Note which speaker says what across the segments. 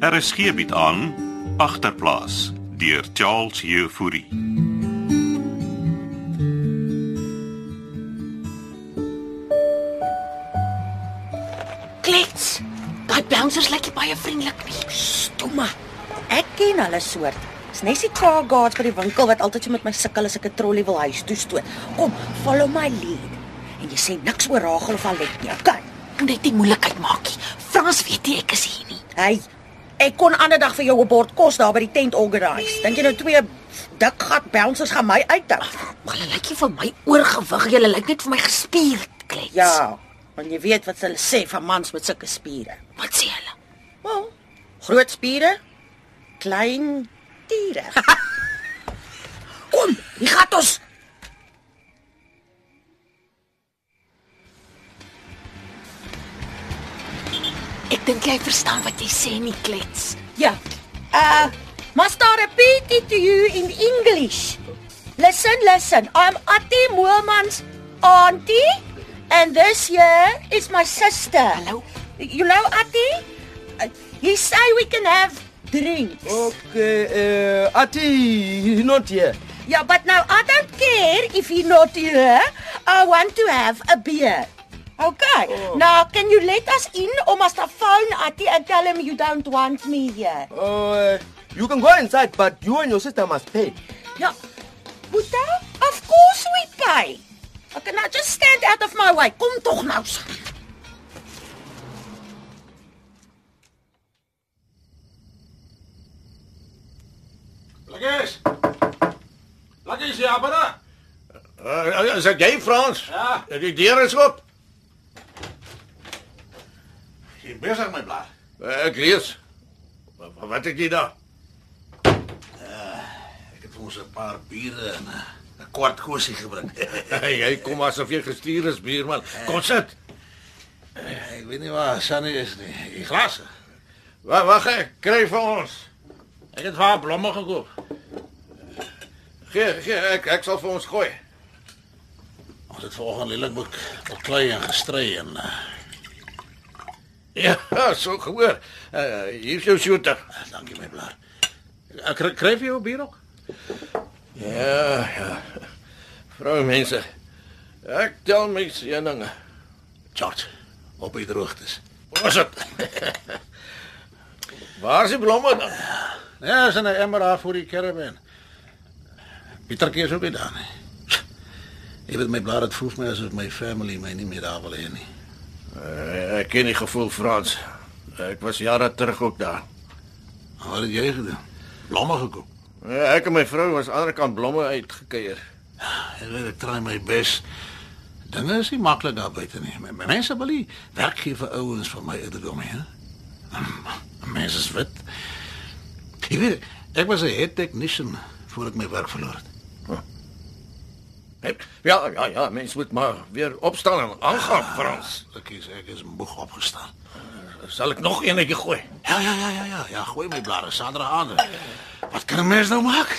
Speaker 1: Er is geebiet aan agterplaas deur Charles Jefouri.
Speaker 2: Klets. Daai bouncers lyk nie baie vriendelik nie.
Speaker 3: Toma, ek ken hulle soort. Dis net die car guards by die winkel wat altyd so met my sukkel as ek 'n trolly wil huis toe stoot. Kom, follow my lead. En jy sê niks oor Rachel of Alet nie. Okay.
Speaker 2: Moet net nie moeilikheid maak nie. Frans weet nie ek is hier nie.
Speaker 3: Hey, ek kon ander dag vir jou 'n bord kos daar by die tent organise. Dink jy nou twee dik gat bouncers gaan my uitdag?
Speaker 2: Maar hulle lyk nie vir my oorgewig. Hulle lyk net vir my gespierd, Klets.
Speaker 3: Ja, want jy weet wat hulle sê van mans met sulke spiere.
Speaker 2: Wat sê hulle?
Speaker 3: Wel, groot spiere, klein tiere. Kom, hier gaan ons.
Speaker 2: Ek dink jy verstaan wat jy sê nie, Klets.
Speaker 3: Ja. Uh, must I repeat it to you in English? Listen, listen. I'm Atti Moelman's auntie, and this here is my sister.
Speaker 2: Hallo.
Speaker 3: You know Atti? Uh, he say we can have drinks.
Speaker 4: Okay, uh, Ati, he's not here.
Speaker 3: Yeah, Ja, but now I don't care if he not here. I want to have a beer. Okay. Now, can you let us in or must I phone Atti and tell him you don't want me here?
Speaker 4: Uh, you can go inside, but you and your sister must pay.
Speaker 3: Yeah. Boeta, of course we pay. I cannot just stand out of my way. Kom tog nou saam.
Speaker 5: Lekkers. Lekkers ja, maar.
Speaker 6: Uh, is ek jy Frans?
Speaker 5: Ja.
Speaker 6: Die deur is oop.
Speaker 5: Jy besig my blaar.
Speaker 6: Uh, ek lees. Wa- wa- Wat het jy daar?
Speaker 5: Eh, Ek het vir ons 'n paar biere en 'n 'n kwart kosie gebring.
Speaker 6: jy kom asof jy gestuur is, buurman. Kom sit.
Speaker 5: Eh, ek weet nie waar Sunny is nie. Die glasse.
Speaker 6: Wag, wag, ek kry vir ons.
Speaker 5: Ek het vir haar blomme gekoop.
Speaker 6: Gee, gee, ek ek sal vir ons gooi.
Speaker 5: Ons het vanoggend lelik bek- beklei en gestry en uh,
Speaker 6: Ja, so gehoor. Uh, hier's jou shooter.
Speaker 5: Eh,
Speaker 6: Eh,
Speaker 5: dankie my blaar. Ek kry- kry vir jou bier ook.
Speaker 6: Ja, ja. Vroumense. Ek tel my seuninge.
Speaker 5: George, op die droogtes.
Speaker 6: Was dit? Waar is die blomme dan?
Speaker 5: Ja, is in 'n emmer daar voor die caravan. Pieterkie is ook nie daar nie. Ek weet my blaar het voel vir my asof my family my nie meer daar wil hê nie.
Speaker 6: Uh, ek ken die gevoel Frans. Ek was jare terug ook daar.
Speaker 5: Wat het jy gedoen? Blomme gekoop.
Speaker 6: Ja, Ek en my vrou was aan die ander kant blomme uitgekuier.
Speaker 5: Ek weet ek try my bes. Dinge is nie maklik daar buite nie. My, my mense wil nie werk gee vir ouens van my ouderdom nie. hè. Mense is wit. Jy weet, ek was 'n head technician voor ek my werk verloor het.
Speaker 6: Hè? Ja, ja, ja, mens moet maar weer opstaan en aangaan,
Speaker 5: Ah,
Speaker 6: Frans.
Speaker 5: Ek is ek is moeg opgestaan.
Speaker 6: Sal ek nog eenetjie gooi?
Speaker 5: Ja ja ja ja ja, ja gooi my blare Sandra aan. Wat kan 'n mens nou maak?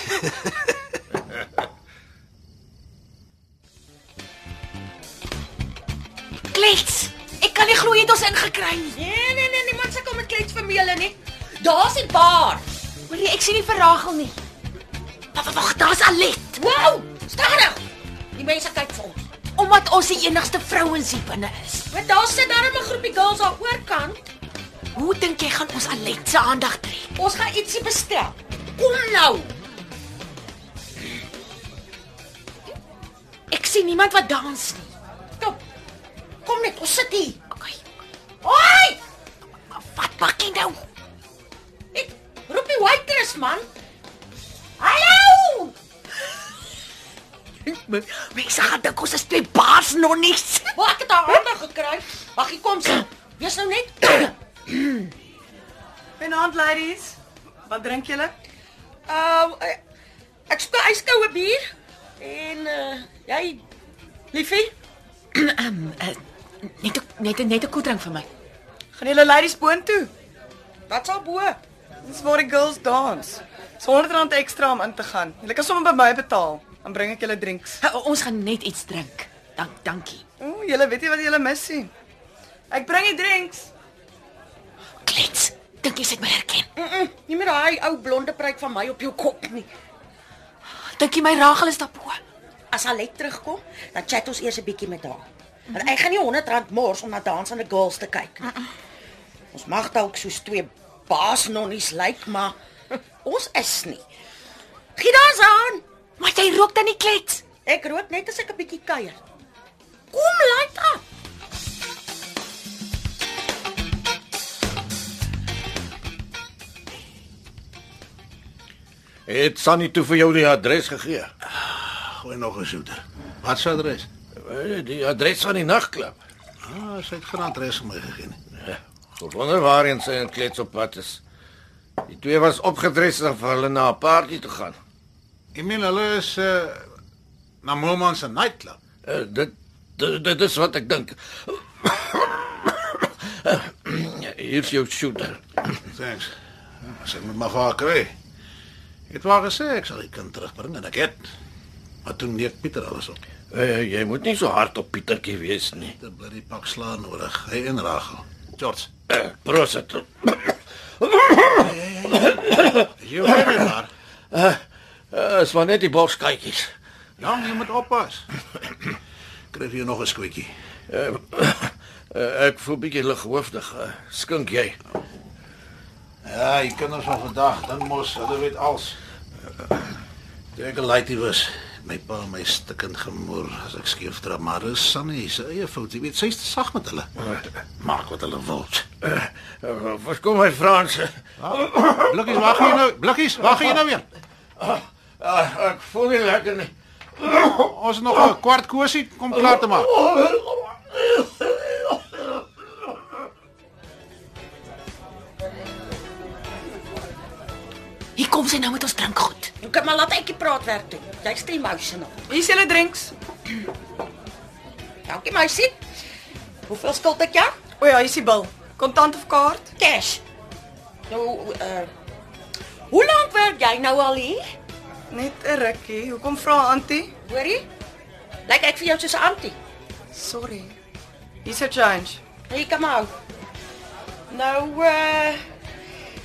Speaker 2: Klets. Ek kan nie glo jy het ons ingekry nie.
Speaker 3: Nee, nee, nee, niemand se kom met klets vir julle nie. Daar's die bar.
Speaker 2: Hoor jy, ek sien nie vir Ragel nie. Wag, wag, daar's Alet.
Speaker 3: Wow, stadig. Die mense kyk vir ons.
Speaker 2: Omdat ons die enigste vrouens hier binne is.
Speaker 3: Want daar sit daar 'n groepie girls daar oorkant.
Speaker 2: Hoe dink jy gaan ons Alet se aandag trek?
Speaker 3: Ons gaan ietsie bestel. Kom nou.
Speaker 2: Ek sien niemand wat dans nie.
Speaker 3: Kom. Kom net, ons sit hier.
Speaker 2: Okay.
Speaker 3: Hoi!
Speaker 2: Wat maak jy nou?
Speaker 3: Ek roep die waitress man. Hallo!
Speaker 2: Mense gaan dink ons is twee baas nonnies.
Speaker 3: Waar ek dit aan hande gekry? Mag ek kom sien? Wees nou net
Speaker 7: Goeienaand ladies. Wat drink julle?
Speaker 3: Ehm uh, ek soek 'n yskoue bier en uh, jy liefie,
Speaker 2: Net ook- net net 'n koeldrank vir my.
Speaker 7: Gaan julle ladies boontoe?
Speaker 3: wat sal bo?
Speaker 7: Dis waar die girls dans. Dis R100 ekstra om in te gaan. Julle kan sommer by my betaal. Dan bring ek julle drinks.
Speaker 2: O, Ons gaan net iets drink. Dank, dankie.
Speaker 7: Ooh, julle weet nie wat julle mis nie. Ek bring die drinks.
Speaker 2: Klets. Dink jy sy het my herken?
Speaker 3: Mm -mm, nie met daai ou blonde pruik van my op jou kop nie.
Speaker 2: Dink jy my Ragel is daarbo?
Speaker 3: As Alet terugkom, dan chat ons eers 'n bietjie met haar. En ek gaan nie R100 mors om na dansende girls te kyk nie. Ons mag dalk soos twee baasnonnies lyk, maar ons is nie. Giet ons aan.
Speaker 2: Maar jy rook dan nie klets.
Speaker 3: Ek rook net as ek 'n bietjie kuier. Kom light af.
Speaker 6: Het Sunny toe vir jou die adres gegee?
Speaker 5: Gooi nog 'n soeter. Wat er se adres?
Speaker 6: Eh, Die adres van die nagklub.
Speaker 5: Ah, sy het geen adres vir my gegee nie.
Speaker 6: Gewonder waarheen sy in klets op pad is. Die twee was opgedres en vir hulle na 'n party toe gaan.
Speaker 5: Ek meen hulle is uh, na Moelman se nightclub.
Speaker 6: Eh, dit, dit dit is wat ek dink. Eh, Hier is jou shooter.
Speaker 5: Thanks. As ek moet maar vaar kry. Het waar gesê ek sal die kind terugbring en ek het. Maar toen neek Pieter alles op.
Speaker 6: Eh, Jy moet nie so hard op Pietertjie wees nie.
Speaker 5: Dit bly die pak slaan nodig. Hy en Rachel. George,
Speaker 6: Eh, Prosit.
Speaker 5: jy hoor my maar.
Speaker 6: Eh, Is maar net die borskytjies.
Speaker 5: Ja, jy moet oppas. Kryf jy nog 'n skootjie.
Speaker 6: Eh, eh, Ek voel bietjie lighoofdig. Eh, Skink jy?
Speaker 5: Ja, jy kan ons van vandag, dan mos, hulle weet als. Trek 'n lightie was. My pa en my stikkend gemoer as ek skeef trap, maar dis Sunny se eie fout. Jy weet, sy's te sag met hulle. Maak wat hulle wil.
Speaker 6: Eh, Verskom my Frans.
Speaker 5: Blikkies, wag hier nou. Blikkies, wag hier nou weer.
Speaker 6: Eh, Ek voel nie lekker nie.
Speaker 5: Ons het nog 'n kwart kosie kom klaar te maak.
Speaker 2: Hier kom sy nou met ons drinkgoed.
Speaker 3: Jy kan maar laat ekie praat werk toe. Jy's te emotional.
Speaker 7: Hier is julle drinks.
Speaker 3: Dankie meisie. Hoeveel skuld ek jou?
Speaker 7: O ja, hier is die bil. Kontant of kaart?
Speaker 3: Cash. Nou uh Hoe lank werk jy nou al hier?
Speaker 7: Net 'n rukkie. Hoekom vra Antie?
Speaker 3: Hoorie? Lyk ek vir jou soos 'n antie?
Speaker 7: Sorry. Hier's 'n change.
Speaker 3: Hier kom aan. Nou uh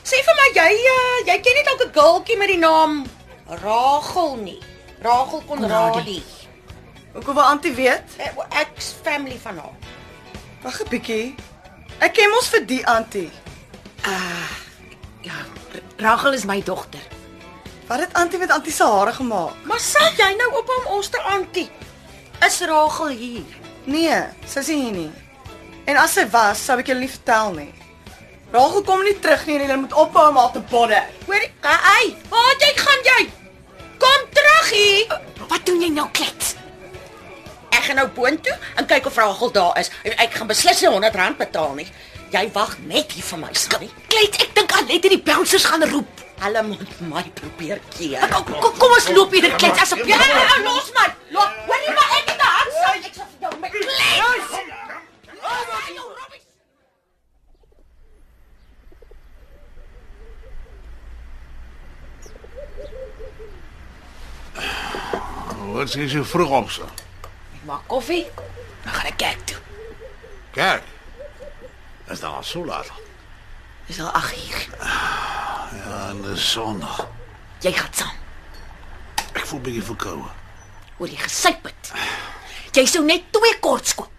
Speaker 3: sê vir my jy uh, jy ken nie dalk 'n girltjie met die naam Ragel nie. Ragel
Speaker 2: Nee.
Speaker 3: Konradi.
Speaker 7: Hoekom wil Antie weet?
Speaker 3: Eh, Ek family van haar.
Speaker 7: Wag 'n bietjie. Ek ken mos vir die Antie.
Speaker 2: Ja, Ragel is my dogter.
Speaker 7: Wat het Antie met Antie se hare gemaak?
Speaker 3: Maar sal jy nou op hom ons te antie? Is Ragel hier?
Speaker 7: Nee, sy is nie hier nie. En as sy was, sou ek julle nie vertel nie. Rachel kom nie terug nie en julle moet ophou om haar te bodder.
Speaker 3: Hoor, ai, waar jy gaan jy? Kom terug hier.
Speaker 2: Wat doen jy nou klets?
Speaker 3: Ek gaan nou boontoe en kyk of Ragel daar is. En Ek gaan beslis nie R100 betaal nie. Jy wag net hier vir my, Sunny.
Speaker 2: Klets, ek dink Alet het die bouncers gaan roep. Eh,
Speaker 3: Hulle moet my probeer keer.
Speaker 2: Kom, kom, kom ons loop hier, klets asseblief.
Speaker 3: Ja, ja, ja, los my. Loop. Hoor jy maar ek het 'n hand sy. Ek sê vir jou my klets.
Speaker 5: Hoor, sy is so vroeg op so.
Speaker 2: Maak koffie. Dan gaan ek kerk toe.
Speaker 5: Kyk. Is dan al so laat.
Speaker 2: Dis al 8 uur.
Speaker 5: Ja, en dis Sondag.
Speaker 2: Jy gaan saam.
Speaker 5: Ek voel bietjie verkoue.
Speaker 2: Oor die gesyp het. Jy sou net twee kort skoop.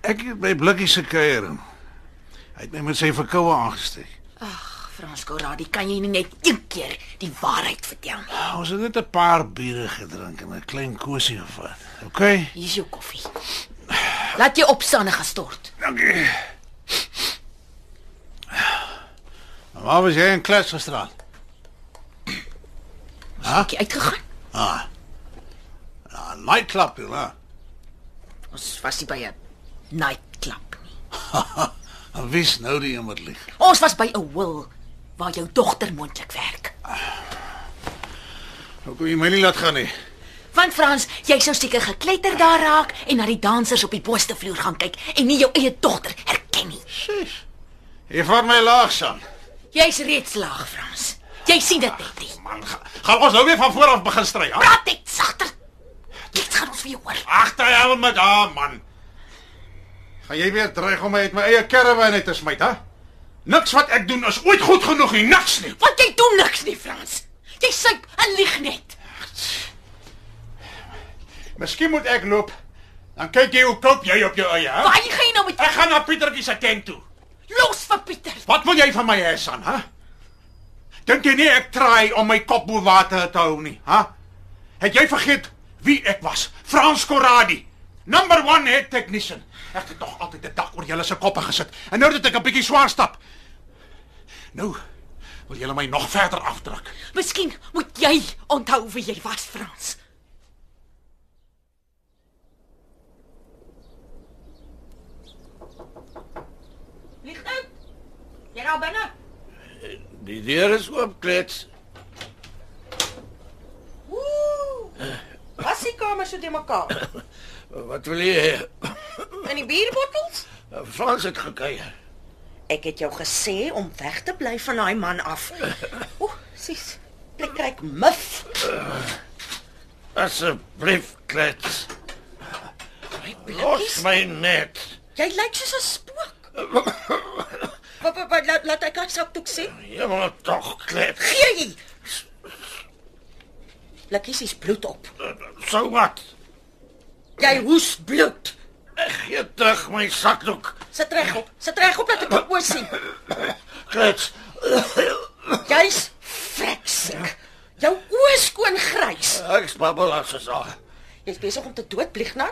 Speaker 5: Ek het by Blikkie se kuiering. Hy het my met sy verkoue aangesteek.
Speaker 2: Frans Corradi, kan jy nie net een keer die waarheid vertel nie?
Speaker 5: Ah, Ons het net 'n paar biere gedrink en 'n klein kosie gevat. OK?
Speaker 2: Hier is jou koffie. Laat jy opstaan en gaan stort.
Speaker 6: Ja?
Speaker 5: Dankie. Maar Waar was jy in klas gisteraan?
Speaker 2: Ek het uitgegaan.
Speaker 5: Ah. Ah, nightclub, ja.
Speaker 2: Ons was nie by 'n nightclub nie.
Speaker 5: Wie's nou die een wat lieg?
Speaker 2: Ons was by 'n wil waar jou dogter moontlik werk.
Speaker 5: Hoekom jy my nie laat gaan nie?
Speaker 2: Want Frans, jy sou seker gekletter daar raak en na die dansers op die boonste vloer gaan kyk en nie jou eie dogter herken nie.
Speaker 5: Sis. Jy vat my laag saam.
Speaker 2: Jy's reeds laag, Frans. Jy sien dit net nie.
Speaker 5: Man, ga, gaan ons nou weer van voor af begin stry. hè?
Speaker 2: Praat net sagter. Dit gaan ons vir jou hoor.
Speaker 5: Agter jou met haar man. Gaan jy weer dreig om my uit my eie karavaan uit te smyt, hè?
Speaker 8: Niks wat ek doen is ooit goed genoeg nie, niks nie.
Speaker 2: Want jy doen niks nie, Frans. Jy suip en lieg net.
Speaker 8: Miskien moet ek loop. Dan kyk jy hoe koop jy op jou eie, hè?
Speaker 2: Waar gaan jy nou met
Speaker 8: Ek gaan na Pietertjie se tent toe.
Speaker 2: los vir Pieter?
Speaker 8: Wat wil jy van my hê, San, hè? Dink jy nie ek probeer om my kop bo water te hou nie, hè? Het jy vergeet wie ek was? Frans Corradi, number 1 head technician. Ek het nog altyd 'n dak oor julle se koppe gesit. En nou dat ek 'n bietjie swaar stap. Nou wil julle my nog verder afdruk.
Speaker 2: Miskien moet jy onthou wie jy was, Frans.
Speaker 3: Lig uit. nou. Jy daar binne.
Speaker 6: Die deur is oop, klets.
Speaker 3: Ooh. Was die kamer so te mekaar?
Speaker 6: Wat wil jy? hê?
Speaker 3: In die bierbottels?
Speaker 6: Frans het gekuier.
Speaker 3: Ek het jou gesê om weg te bly van daai man af. Oeh, sies. Plek kry ek mif.
Speaker 6: Asseblief, klets. Los my net.
Speaker 3: Jy lyk soos 'n spook. Wat wat- wat laat laat ek haar sakdoek sien?
Speaker 6: Jemmer nou tog, klets.
Speaker 3: Gee jy. Lekkies is bloed op.
Speaker 6: So wat?
Speaker 3: Jy hoes bloed.
Speaker 6: Gee terug my sakdoek.
Speaker 3: Sit regop. Sit regop dat ek jou oë sien.
Speaker 6: Klets.
Speaker 3: Jy's freksig. Jou oë is skoon grys.
Speaker 6: Ek spabbel as is al.
Speaker 3: Jy's besig om te doodblieg nou.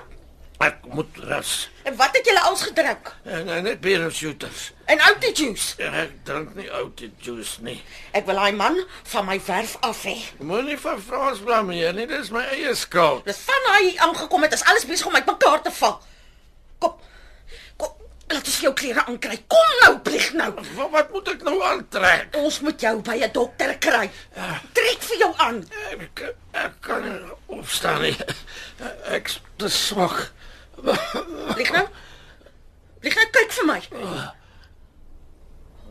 Speaker 6: Ek moet rus.
Speaker 3: En wat het julle als gedrink?
Speaker 6: En en net bier en shooters.
Speaker 3: En outie juice.
Speaker 6: En Ek drink nie oud juice nie.
Speaker 3: Ek wil daai man van my werf af hê.
Speaker 6: Moenie vir Frans blameer nie, nee, dis my eie skuld.
Speaker 3: Dis van hy hier aangekom het, is alles besig om uitmekaar te val. Kom. Kom, laat ons jou klere aankry. Kom nou, plieg nou.
Speaker 6: Wat, wat moet ek nou aantrek?
Speaker 3: Ons moet jou by 'n dokter kry. Trek vir jou aan.
Speaker 6: Ek, ek kan nie opstaan nie. Ek is te swak.
Speaker 3: Lig nou. Lig nou kyk vir my.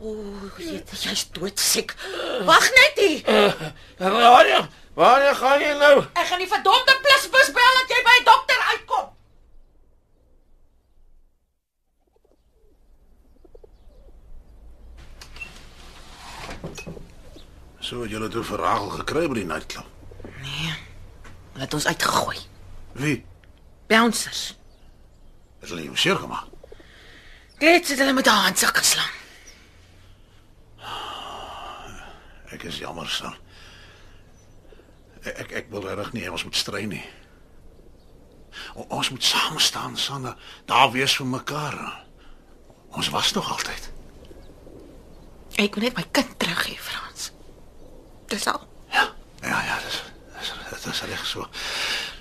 Speaker 3: Ooh, jy jy's doodsiek. Wag net hier.
Speaker 6: Raja, waar gaan jy nou?
Speaker 3: Ek gaan die verdomde plusbus bel dat jy by 'n dokter uitkom.
Speaker 5: So het julle toe vir Ragel gekry by die nightclub.
Speaker 2: Hulle het ons uitgegooi.
Speaker 5: Wie?
Speaker 2: Bouncers.
Speaker 5: Het hulle jou seer gemaak?
Speaker 2: Dit het hulle met 'n handsak geslaan.
Speaker 5: Ek is jammer, San. Ek ek wil regtig nie hê ons moet strei nie. O, ons moet saam staan, San. Daar wees vir mekaar. Ons was nog altyd.
Speaker 2: Ek wil net my kind terug hê, Frans. Dis al.
Speaker 5: Ja. Ja, ja, dis dis dit is reg so.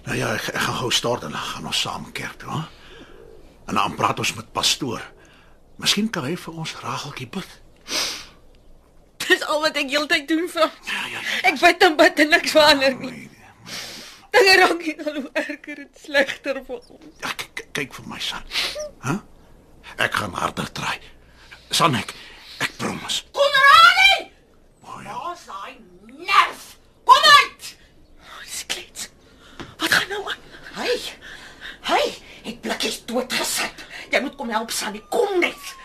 Speaker 5: Nou ja, ek, ek gaan gou stort en dan gaan ons saam kerk toe, hè? En dan praat ons met pastoor. Miskien kan hy vir ons Rageltjie bid.
Speaker 2: Dis al wat ek heeltyd doen, Frans.
Speaker 5: Ja, ja.
Speaker 2: Ek bid en bid en niks verander nie.
Speaker 5: Nee, nee.
Speaker 2: Dinge raak net al hoe erger en slegter vir ons.
Speaker 5: Ja, k- k- kyk vir my son. Hæ? Huh? Ek gaan harder try. Son ek. Ek promise.
Speaker 3: Konradi!
Speaker 5: O, ja.
Speaker 3: Daar's daai nerf. Kom uit.
Speaker 2: Oh, Dis klets. Wat gaan nou aan?
Speaker 3: Hy. Hy het blikkies doodgesit. Jy moet kom help Sannie, kom net.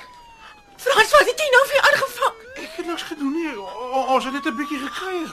Speaker 2: Frans, wat het jy nou vir aangevang?
Speaker 5: Ek het niks gedoen nie. O, o- ons het net 'n bietjie gekuier.